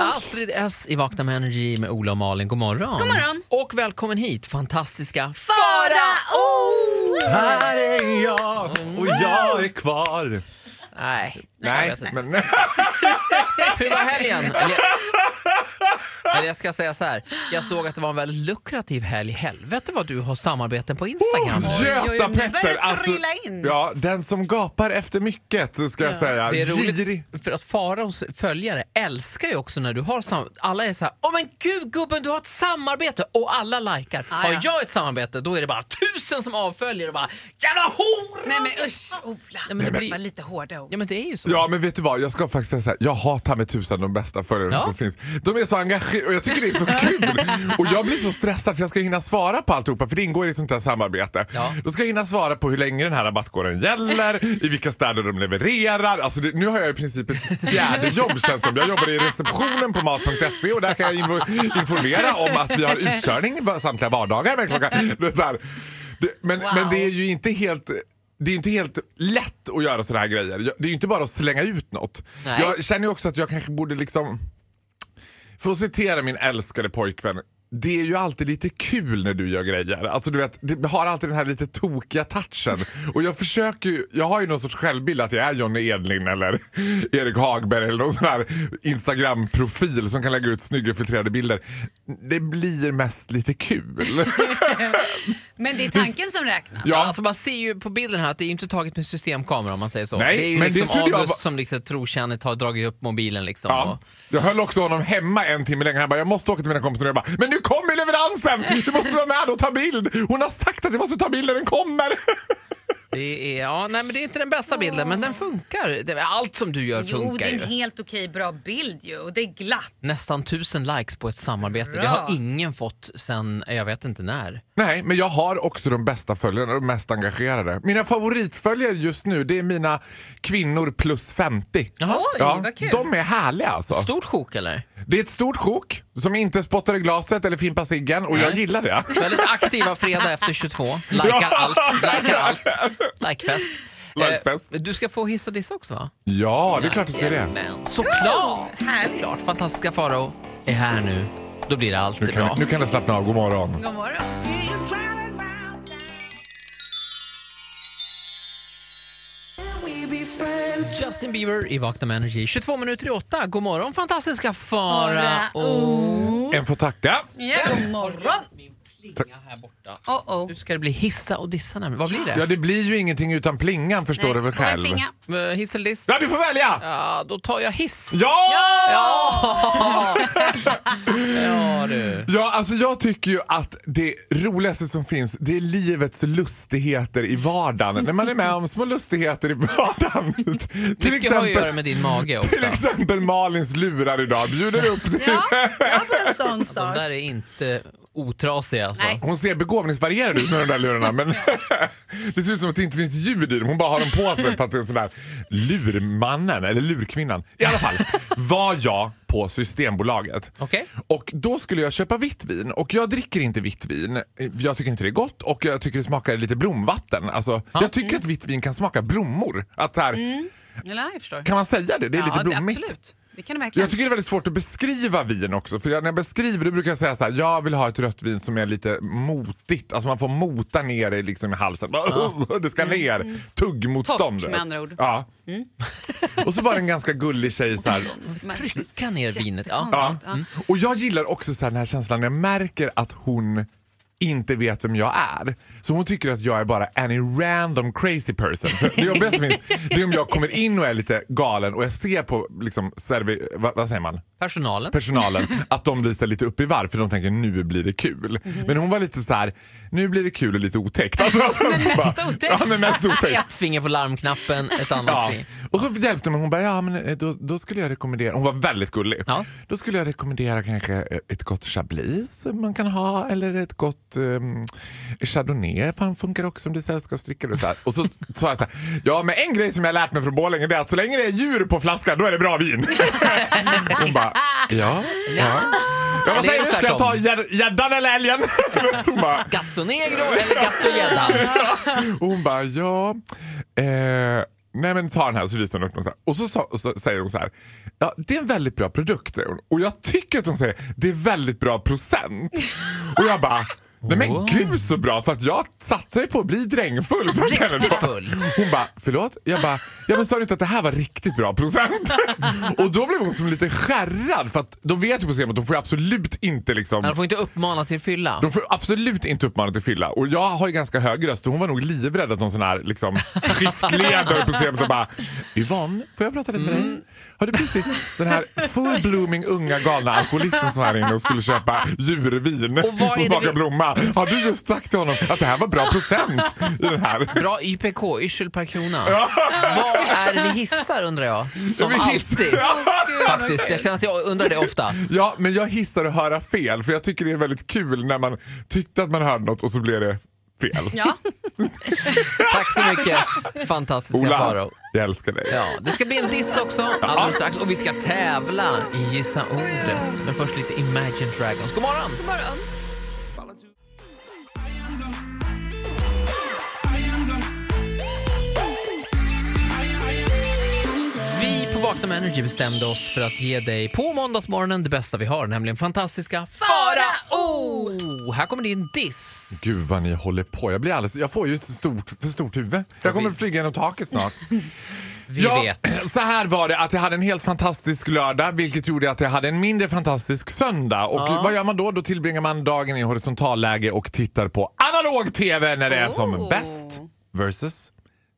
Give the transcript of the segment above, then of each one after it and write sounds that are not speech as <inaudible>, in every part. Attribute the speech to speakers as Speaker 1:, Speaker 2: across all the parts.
Speaker 1: Astrid S i Vakna med Energy med Ola och Malin. God morgon.
Speaker 2: God morgon.
Speaker 1: Och välkommen hit, fantastiska
Speaker 2: Farao!
Speaker 3: Här är jag och jag är kvar.
Speaker 1: Nej, jag
Speaker 3: Nej,
Speaker 1: vet inte.
Speaker 3: men <laughs>
Speaker 1: Hur var
Speaker 2: <laughs>
Speaker 1: helgen? Eller, eller jag ska säga så här. Jag såg att det var en väldigt lukrativ helg. Helvete vad du har samarbeten på Instagram.
Speaker 2: oj,
Speaker 3: Göta
Speaker 2: nu börjar
Speaker 3: Petter! alltså-
Speaker 2: det trilla in.
Speaker 3: ja, den som gapar efter mycket, så ska jag säga.
Speaker 1: Det är
Speaker 3: Girig.
Speaker 1: roligt för att Faraos följare älskar ju också när du har sam- Alla är så här, åh men gud gubben du har ett samarbete och alla likar.
Speaker 2: Ah,
Speaker 1: har
Speaker 2: ja.
Speaker 1: jag ett samarbete då är det bara tusen som avföljer och bara jävla hora!
Speaker 2: Nej men usch Ola,
Speaker 1: men det blir-
Speaker 2: var lite hårda ord.
Speaker 1: Ja men det är ju så.
Speaker 3: Ja men vet du vad, jag ska faktiskt säga så här. jag har ta mig tusan de bästa förarna
Speaker 1: Ja.
Speaker 3: som finns. De är så engagerade och jag tycker det är så kul. och jag blir så stressad för jag ska hinna svara på alltihopa för det ingår i ett sånt här samarbete.
Speaker 1: Ja.
Speaker 3: Då ska jag hinna svara på hur länge den här rabattkoden gäller, i vilka städer de levererar. Alltså det, nu har jag i princip ett fjärde jobb känns som. Jag jobbar i receptionen på mat.se och där kan jag invo- informera om att vi har utkörning var- samtliga vardagar. Men, klockan, det är så här. Det, men,
Speaker 2: Wow.
Speaker 3: men det är ju inte helt det är ju inte helt lätt att göra sådana här grejer. Jag- Det är ju inte bara att slänga ut något.
Speaker 1: Nej.
Speaker 3: Jag känner ju också att jag kanske borde liksom... För att citera min älskade pojkvän. Det är ju alltid lite kul när du gör grejer. Alltså du vet, det har alltid den här lite tokiga touchen. Och jag försöker ju, jag har ju någon sorts självbild att jag är Johnny Edlin eller <laughs> Erik Hagberg eller någon sån här Instagram-profil som kan lägga ut snygga filtrerade bilder. Det blir mest lite kul.
Speaker 2: Men det är tanken som räknas.
Speaker 1: Ja.
Speaker 3: ja,
Speaker 1: Alltså man ser ju på bilden här att det är ju inte taget med systemkamera om man säger så.
Speaker 3: Nej,
Speaker 1: det är ju
Speaker 3: men det
Speaker 1: liksom
Speaker 3: trodde jag
Speaker 1: August
Speaker 3: var-
Speaker 1: som liksom trotjänigt har dragit upp mobilen liksom.
Speaker 3: Ja.
Speaker 1: Och...
Speaker 3: Jag höll också honom hemma en timme längre. Han bara, jag måste åka till mina kompisar. Och jag bara, men nu kommer leveransen! Du måste vara med och ta bild! Hon har sagt att jag måste ta bild när den kommer! <laughs>
Speaker 1: Det är, ja, nej men det är inte den bästa bilden men den funkar. Det- Allt som du gör
Speaker 2: Jo, det
Speaker 1: funkar
Speaker 2: är en
Speaker 1: ju.
Speaker 2: helt okej bra bild ju och det är glatt.
Speaker 1: Nästan tusen likes på ett samarbete.
Speaker 2: Bra.
Speaker 1: Det har ingen fått sen, jag vet inte när.
Speaker 3: Nej, men jag har också de bästa följarna, de mest engagerade. Mina favoritföljare just nu, det är mina kvinnor plus 50.
Speaker 1: Jaha.
Speaker 2: Oj, vad kul.
Speaker 3: de är härliga alltså.
Speaker 1: Stort sjok eller?
Speaker 3: Det är ett stort sjok som inte spottar i glaset eller fimpar ciggen och jag
Speaker 1: Nej.
Speaker 3: gillar det.
Speaker 1: Väldigt aktiva fredag efter 22. Likar allt, likar allt.
Speaker 3: <laughs>
Speaker 1: Likefest.
Speaker 3: Likefest.
Speaker 1: Eh, du ska få hissa och dissa också va?
Speaker 3: Ja, det är klart du ska det.
Speaker 1: Jajamän. Såklart!
Speaker 2: Härligt.
Speaker 1: Såklart. Fantastiska Farao är här nu. Då blir det
Speaker 3: Nu
Speaker 1: alltid bra.
Speaker 3: kan, nu kan det slappna av, god morgon.
Speaker 2: God morgon.
Speaker 1: Justin Bieber i Vakna med Energy. 22 minuter i åtta. God morgon fantastiska Farao.
Speaker 3: En får tacka.
Speaker 2: Ja, god morgon.
Speaker 1: Min plinga här borta.
Speaker 2: Oh, oh.
Speaker 1: Nu ska det bli hissa och dissa nämligen. Vad blir
Speaker 3: Ja,
Speaker 1: det?
Speaker 3: det blir ju ingenting utan plingan förstår du väl själv.
Speaker 1: Eh, Hiss eller diss?
Speaker 3: Ja, du får välja!
Speaker 1: Ja, då tar jag hiss.
Speaker 3: Ja! Ja!
Speaker 1: Ja du.
Speaker 3: alltså jag tycker ju att det roligaste som finns det är livets lustigheter i vardagen. När man är med om små lustigheter
Speaker 1: <laughs>
Speaker 3: i vardagen. till,
Speaker 1: Mycket har ju att göra
Speaker 3: exempel,
Speaker 1: med din mage också.
Speaker 3: till exempel Malins lurar idag. Bjuder upp till.
Speaker 2: Ja, jag var en sån
Speaker 1: De
Speaker 2: sak.
Speaker 1: där är inte otrasiga alltså.
Speaker 2: Nej.
Speaker 3: Hon ser begåvningsvarierad ut med de där lurarna men <laughs> det ser ut som att det inte finns ljud i dem. Hon bara har dem på sig för att det är sån där lurmannen eller lurkvinnan. I alla fall var jag på Systembolaget.
Speaker 1: Okej.
Speaker 3: Och då skulle jag köpa vitt vin och jag dricker inte vitt vin. Jag tycker inte det är gott och jag tycker det smakar lite blomvatten. Alltså, jag tycker att vitt vin kan smaka blommor. Att så här,
Speaker 2: Ja, jag förstår.
Speaker 3: Kan man säga det? Det är lite
Speaker 2: Mm. ja, det-
Speaker 3: blommigt.
Speaker 2: Absolut. Det kan det verkligen.
Speaker 3: Jag tycker det är väldigt svårt att beskriva vin också. För jag, när jag beskriver det brukar jag säga så här, jag vill ha ett rött vin som är lite motigt. Alltså man får mota ner det liksom i halsen. <laughs> Det ska ner. Tuggmotstånd.
Speaker 2: Mm. Torrt, med andra ord. Mm.
Speaker 3: Ja. <laughs> Och så var det en ganska gullig tjej så här.
Speaker 1: Trycka ner vinet. Ja.
Speaker 3: Ja.
Speaker 2: Mm.
Speaker 3: Och jag gillar också så här, den här känslan när jag märker att hon inte vet vem jag är. Så hon tycker att jag är bara any random crazy person. För det jobbiga som finns det är om jag kommer in och är lite galen och jag ser på liksom, servi- vad, vad säger man?
Speaker 1: Personalen.
Speaker 3: personalen att de blir så här lite upp i varv för de tänker nu blir det kul. Men hon var lite så här, nu blir det kul och lite otäckt. Alltså, men <laughs>
Speaker 2: mest otäckt.
Speaker 3: Ja, men mest otäckt.
Speaker 1: Ett finger på larmknappen, ett annat
Speaker 3: Ja.
Speaker 1: finger.
Speaker 3: Och så hjälpte hon mig. Hon bara, ja, men eh, då, då skulle jag rekommendera, hon var väldigt gullig.
Speaker 1: Ja.
Speaker 3: Då skulle jag rekommendera kanske eh, ett gott chablis man kan ha eller ett gott ehm, chardonnay. Fan funkar också om det är sällskapsdrickare. Och så, här. och så sa jag så här, ja men en grej som jag har lärt mig från Borlänge det är att så länge det är djur på flaskan då är det
Speaker 1: <laughs>
Speaker 3: bra vin. hon bara, ja. ja. Jag bara,
Speaker 1: Eller är
Speaker 3: säger
Speaker 1: det
Speaker 3: du, ska jag ta
Speaker 1: tvärtom?
Speaker 3: gädd- gäddan eller älgen? <laughs> Hon bara,
Speaker 1: Gatto negro eller gatto gädda?
Speaker 3: och hon bara, ja... Eh, Nej men ta den här så visar hon upp den. Så här. Och så, sa- och så säger hon så här. Ja, det är en väldigt bra produkt säger hon. Och jag tycker att hon säger det är väldigt bra procent. Och jag bara. Nej men
Speaker 1: Wow.
Speaker 3: gud så bra för att jag satsar ju på att bli drängfull. sa jag till henne då.
Speaker 1: Riktigt full.
Speaker 3: Hon bara, förlåt? Jag bara, ja men sa du inte att det här var riktigt bra procent? Och då blev hon som lite skärrad för att de vet ju på scenen att de får ju absolut inte liksom
Speaker 1: Man får inte uppmana till fylla.
Speaker 3: de får absolut inte uppmana till fylla. Och jag har ju ganska hög röst och hon var nog livrädd att någon sån här liksom, skiftledare på systemet och bara Yvonne, får jag prata lite med
Speaker 1: Mm.
Speaker 3: dig? Har du precis den här full blooming unga galna alkoholisten som var här inne och skulle köpa djurvin
Speaker 1: Och vad är
Speaker 3: som
Speaker 1: det
Speaker 3: smakar
Speaker 1: vi-
Speaker 3: blomma. Har du just sagt till honom att det här var bra procent i den här?
Speaker 1: Bra YPK, yrsel per krona. Vad är det vi hissar undrar jag? Som
Speaker 3: Vi hissar-
Speaker 1: alltid.
Speaker 2: Gud, vad
Speaker 1: Faktiskt,
Speaker 2: kul.
Speaker 1: jag känner att jag undrar det ofta.
Speaker 3: <laughs> Ja, men jag hissar att höra fel för jag tycker det är väldigt kul när man tyckte att man hörde något och så blev det fel.
Speaker 2: Ja,
Speaker 1: Tack så mycket fantastiska
Speaker 3: Ola,
Speaker 1: Faro.
Speaker 3: jag älskar dig.
Speaker 1: Ja, det ska bli en diss också alldeles strax och vi ska tävla i Gissa ordet. Men först lite Imagine Dragons. God morgon!
Speaker 2: god morgon.
Speaker 1: Vi på Vakna med Energy bestämde oss för att ge dig på måndagsmorgonen det bästa vi har, nämligen fantastiska Farao! Här kommer din diss.
Speaker 3: Gud vad ni håller på. Jag, blir alldeles, jag får ju ett stort, för stort huvud. Jag kommer
Speaker 1: vi-
Speaker 3: flyga genom taket snart.
Speaker 1: <laughs> Vi vet.
Speaker 3: <clears throat> Så här var det att jag hade en helt fantastisk lördag vilket gjorde att jag hade en mindre fantastisk söndag. Och
Speaker 1: Ja.
Speaker 3: vad gör man då? Då tillbringar man dagen i horisontalläge och tittar på analog TV när det är som
Speaker 2: Oh.
Speaker 3: bäst versus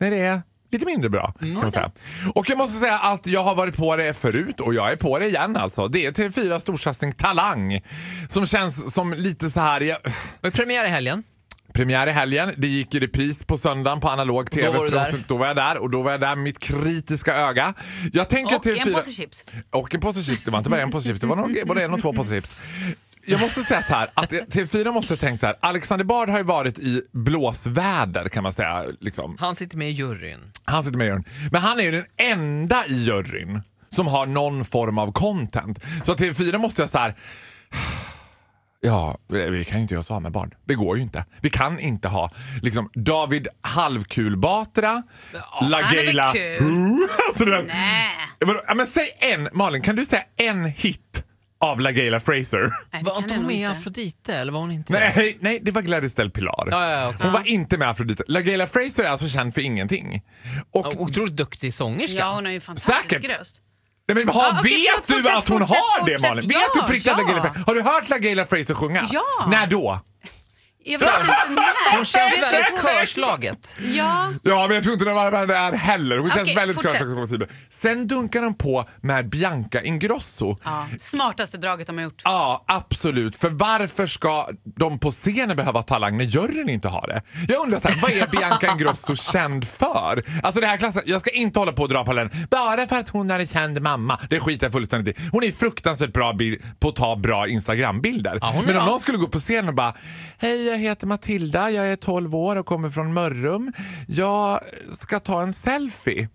Speaker 3: när det är lite mindre bra. Kan man säga. Och jag måste säga att jag har varit på det förut och jag är på det igen alltså. Det är TV4 storsatsning Talang som känns som lite så här... Jag,
Speaker 1: Och premiär i helgen.
Speaker 3: Premiär i helgen. Det gick i repris på söndagen på analog tv.
Speaker 1: Då var du
Speaker 3: för de
Speaker 1: där.
Speaker 3: som- då var jag där och då var jag där med mitt kritiska öga. Jag tänker
Speaker 2: Och
Speaker 3: till
Speaker 2: en påse chips.
Speaker 3: Och en påse chips. Det var inte bara en påse chips, det var nog både en och två påse chips. Jag måste säga så här, att TV4 måste ha tänkt så här. Alexander Bard har ju varit i blåsväder kan man säga. Liksom.
Speaker 1: Han sitter med i juryn.
Speaker 3: Han sitter med i juryn. Men han är ju den enda i juryn som har någon form av content. Så TV4 måste jag så här. <sighs> Ja, vi kan ju inte göra så med barn. Det går ju inte. Vi kan inte ha liksom, David Halvkul Batra, LaGeila
Speaker 2: han är väl
Speaker 3: Hu. <laughs> Alltså, den-
Speaker 2: Nej.
Speaker 3: Vadå? Ja, men säg en, Malin, kan du säga en hit av LaGeila Fraser? <laughs>
Speaker 2: Nej, det
Speaker 1: Var
Speaker 2: kan
Speaker 1: inte
Speaker 2: jag
Speaker 1: hon
Speaker 2: nog
Speaker 1: med i
Speaker 2: inte.
Speaker 1: Afrodite eller var hon inte
Speaker 3: Nej, nej, det var Gladys Del Pilar.
Speaker 1: Ja, ja, ja, okej.
Speaker 3: Hon var inte med Afrodite. LaGeila Fraser är alltså känd för ingenting. Och
Speaker 1: Och Otroligt duktig sångerska.
Speaker 2: Ja, hon har ju en fantastisk
Speaker 3: Säkert.
Speaker 2: röst.
Speaker 3: Nej, men har,
Speaker 2: Ja, okej, förlåt,
Speaker 3: vet du
Speaker 2: fortsätt,
Speaker 3: att hon
Speaker 2: fortsätt,
Speaker 3: har det
Speaker 2: fortsätt.
Speaker 3: Malin?
Speaker 2: Ja,
Speaker 3: vet du på riktigt att
Speaker 2: ja.
Speaker 3: LaGaylia Fraser? Har du hört LaGaylia Fraser sjunga?
Speaker 2: Ja.
Speaker 3: När då?
Speaker 2: Jag vet inte när.
Speaker 1: Hon känns
Speaker 2: Jag tror
Speaker 1: väldigt
Speaker 2: att hon-
Speaker 1: körslaget.
Speaker 2: Ja,
Speaker 3: Ja, men jag tror inte den var med där heller. Hon känns
Speaker 2: Okej,
Speaker 3: väldigt
Speaker 2: fortsätt.
Speaker 3: körskompatibel. Sen dunkar de på med Bianca Ingrosso.
Speaker 2: ja. Smartaste draget de har gjort.
Speaker 3: Ja, absolut. För varför ska de på scenen behöva talang när juryn inte har det? Jag undrar så här, vad är Bianca Ingrosso känd för? Alltså det här klassen, jag ska inte hålla på och dra parallellen. Bara för att hon är en känd mamma. Det skiter jag fullständigt i. Hon är fruktansvärt bra bil- på att ta bra Instagram-bilder.
Speaker 1: Ja, hon är
Speaker 3: Men om
Speaker 1: bra.
Speaker 3: någon skulle gå upp på scenen och bara Hej, jag heter Matilda, jag är 12 år och kommer från Mörrum. Jag ska ta en selfie.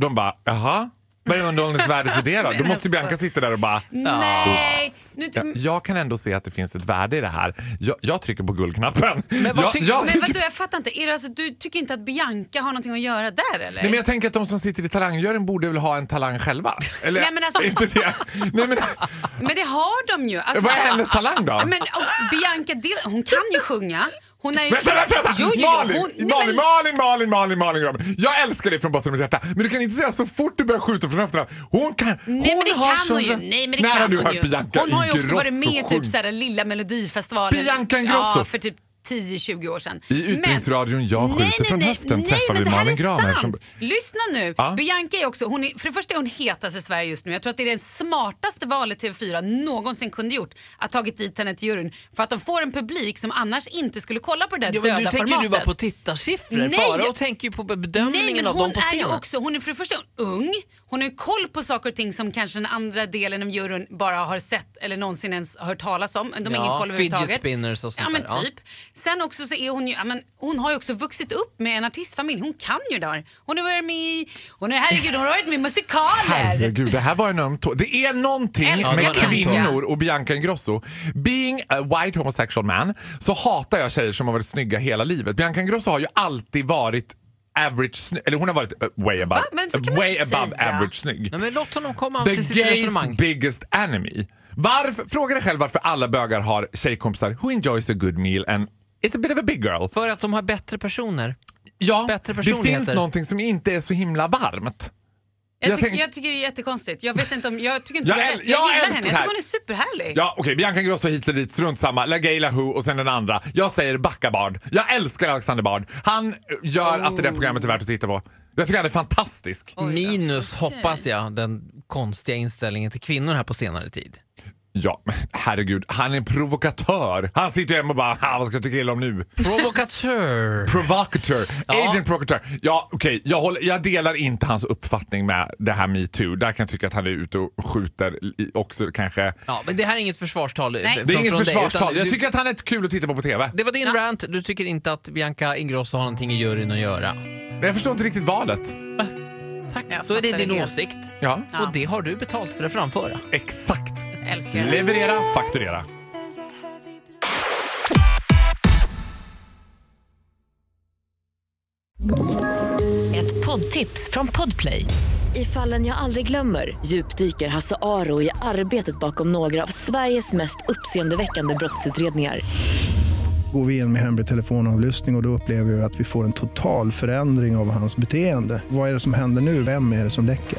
Speaker 3: De bara, jaha? Vad är underhållningsvärdet för det då? Då
Speaker 2: Men
Speaker 3: måste ju
Speaker 2: alltså.
Speaker 3: Bianca sitta där och bara
Speaker 2: Nej! Nu,
Speaker 3: Ja, jag kan ändå se att det finns ett värde i det här. Jag, jag trycker på guldknappen. Men
Speaker 1: vad
Speaker 3: jag,
Speaker 1: tycker-
Speaker 3: jag,
Speaker 2: men
Speaker 3: tycker-
Speaker 2: vadå, jag fattar inte. Är det alltså, du tycker inte att Bianca har någonting att göra där eller?
Speaker 3: Nej, men jag tänker att de som sitter i talangjuryn borde väl ha en talang själva? Eller,
Speaker 2: Nej, men alltså-
Speaker 3: inte det. Nej,
Speaker 2: <laughs>
Speaker 3: men,
Speaker 2: Men det har de ju. Alltså,
Speaker 3: vad är hennes talang då?
Speaker 2: Ja, Men, och Bianca, Del- hon kan ju sjunga. Hon är ju...
Speaker 3: Vänta, vänta, vänta!
Speaker 2: Jo, jo, jo,
Speaker 3: Malin,
Speaker 2: hon, nej,
Speaker 3: Malin,
Speaker 2: men-
Speaker 3: Malin, Malin, Malin, Malin, Malin. Jag älskar dig från botten av mitt hjärta. Men du kan inte säga så fort du börjar skjuta från höfterna. Hon kan...
Speaker 2: Nej
Speaker 3: hon
Speaker 2: men det
Speaker 3: har
Speaker 2: kan
Speaker 3: sån
Speaker 2: hon ju.
Speaker 3: röst.
Speaker 2: Nej, men det
Speaker 3: När
Speaker 2: kan
Speaker 3: har du
Speaker 2: hon,
Speaker 3: hört
Speaker 2: ju.
Speaker 3: Bianca
Speaker 2: hon har ju också varit med i
Speaker 3: Ingrosso
Speaker 2: typ
Speaker 3: sjung-
Speaker 2: så här, lilla melodifestivalen.
Speaker 3: Bianca Ingrosso.
Speaker 2: Ja, för typ 10-20 år sedan.
Speaker 3: I Utbildningsradion Jag skjuter från höften
Speaker 2: nej,
Speaker 3: träffar
Speaker 2: men
Speaker 3: vi
Speaker 2: det här
Speaker 3: Malin
Speaker 2: är
Speaker 3: Graner.
Speaker 2: sant.
Speaker 3: Som...
Speaker 2: Lyssna nu.
Speaker 3: Ja.
Speaker 2: Bianca är också, hon är, för det första är hon hetast i Sverige just nu. Jag tror att det är det smartaste valet TV4 någonsin kunde gjort. Att tagit dit henne till juryn. För att de får en publik som annars inte skulle kolla på det där
Speaker 1: Ja, men
Speaker 2: döda
Speaker 1: du tänker
Speaker 2: formatet.
Speaker 1: ju bara på tittarsiffror.
Speaker 2: Nej.
Speaker 1: Farao tänker ju på bedömningen
Speaker 2: Nej, men
Speaker 1: av
Speaker 2: hon
Speaker 1: dem på
Speaker 2: är ju
Speaker 1: scenen.
Speaker 2: också, hon är för det första ung, hon har ju koll på saker och ting som kanske den andra delen av juryn bara har sett eller någonsin ens hört talas om. De har ingen
Speaker 1: ja,
Speaker 2: koll
Speaker 1: fidget
Speaker 2: överhuvudtaget.
Speaker 1: spinners och sånt
Speaker 2: Ja men
Speaker 1: där.
Speaker 2: typ. Sen också så är hon ju, ja, men, hon har ju också vuxit upp med en artistfamilj. Hon kan ju där. Hon har varit med i, hon har, herregud hon har varit med i musikaler.
Speaker 3: Herregud, det här var en öm tå. Det är någonting
Speaker 2: Älskar
Speaker 3: med
Speaker 1: Bianca.
Speaker 3: kvinnor och Bianca Ingrosso. Being a white homosexual man så hatar jag tjejer som har varit snygga hela livet. Bianca Ingrosso har ju alltid varit average snygg. Eller hon har varit eh, way above,
Speaker 2: Men så kan man
Speaker 3: way
Speaker 2: inte
Speaker 3: above
Speaker 2: säga.
Speaker 3: average snygg.
Speaker 1: Nej, men låt honom komma
Speaker 3: The
Speaker 1: till sitt
Speaker 3: gays
Speaker 1: resonemang.
Speaker 3: biggest enemy. Varför, fråga dig själv varför alla bögar har tjejkompisar who enjoys a good meal and it's a bit of a big girl.
Speaker 1: För att de har bättre personer.
Speaker 3: Ja,
Speaker 1: Bättre
Speaker 3: det finns
Speaker 1: personligheter.
Speaker 3: någonting som inte är så himla varmt.
Speaker 2: Jag,
Speaker 3: Jag
Speaker 2: tyck,
Speaker 3: tänk-
Speaker 2: jag tycker det är jättekonstigt. Jag vet inte om... Jag tycker inte
Speaker 3: Jag
Speaker 2: jag, jag,
Speaker 3: äl- jag
Speaker 2: gillar henne.
Speaker 3: älskar
Speaker 2: Jag
Speaker 3: det här.
Speaker 2: tycker hon är superhärlig.
Speaker 3: Ja, okej, Bianca Ingrosso hit och dit, strunt samma. La Gay, La Who och sen den andra. Jag säger Backa Bard. Jag älskar Alexander Bard. Han gör att det där programmet är värt att titta på. Jag tycker han är fantastisk.
Speaker 2: Oj då.
Speaker 1: Minus,
Speaker 2: Okej.
Speaker 1: hoppas jag, den konstiga inställningen till kvinnor här på senare tid.
Speaker 3: Ja, men herregud. Han är en provokatör. Han sitter ju hemma och bara, "Ha, vad ska jag tycka illa om nu?
Speaker 1: Provokatör!
Speaker 3: Provokatör.
Speaker 1: Ja.
Speaker 3: Agent provokatör. Ja, okej. Jag, håller- jag delar inte hans uppfattning med det här metoo. Där kan jag tycka att han är ute och skjuter i, också kanske.
Speaker 1: Ja, men det här är inget försvarstal eh,
Speaker 2: Nej.
Speaker 1: från,
Speaker 3: Det är inget
Speaker 1: från dig, utan
Speaker 3: försvarstal. jag
Speaker 1: du-
Speaker 3: tycker att han är kul att titta på på TV.
Speaker 1: Det var din rant. Du tycker inte att Bianca Ingrosso har någonting i juryn att göra.
Speaker 3: Men jag förstår inte riktigt valet.
Speaker 1: Tack.
Speaker 2: Jag
Speaker 1: Då är det
Speaker 2: fattar
Speaker 1: din
Speaker 2: det helt.
Speaker 1: åsikt.
Speaker 3: Ja,
Speaker 2: Ja.
Speaker 1: Och det har du betalt för att framföra.
Speaker 3: exakt.
Speaker 2: Jag älskar henne.
Speaker 3: Leverera, fakturera.
Speaker 4: There's a heavy blue.
Speaker 5: Ett poddtips från Podplay. I fallen jag aldrig glömmer djupdyker Hasse Aro i arbetet bakom några av Sveriges mest uppseendeväckande brottsutredningar.
Speaker 6: går vi in med hemlig telefonavlyssning och, och då upplever vi att vi får en total förändring av hans beteende. Vad är det som händer nu? Vem är det som läcker?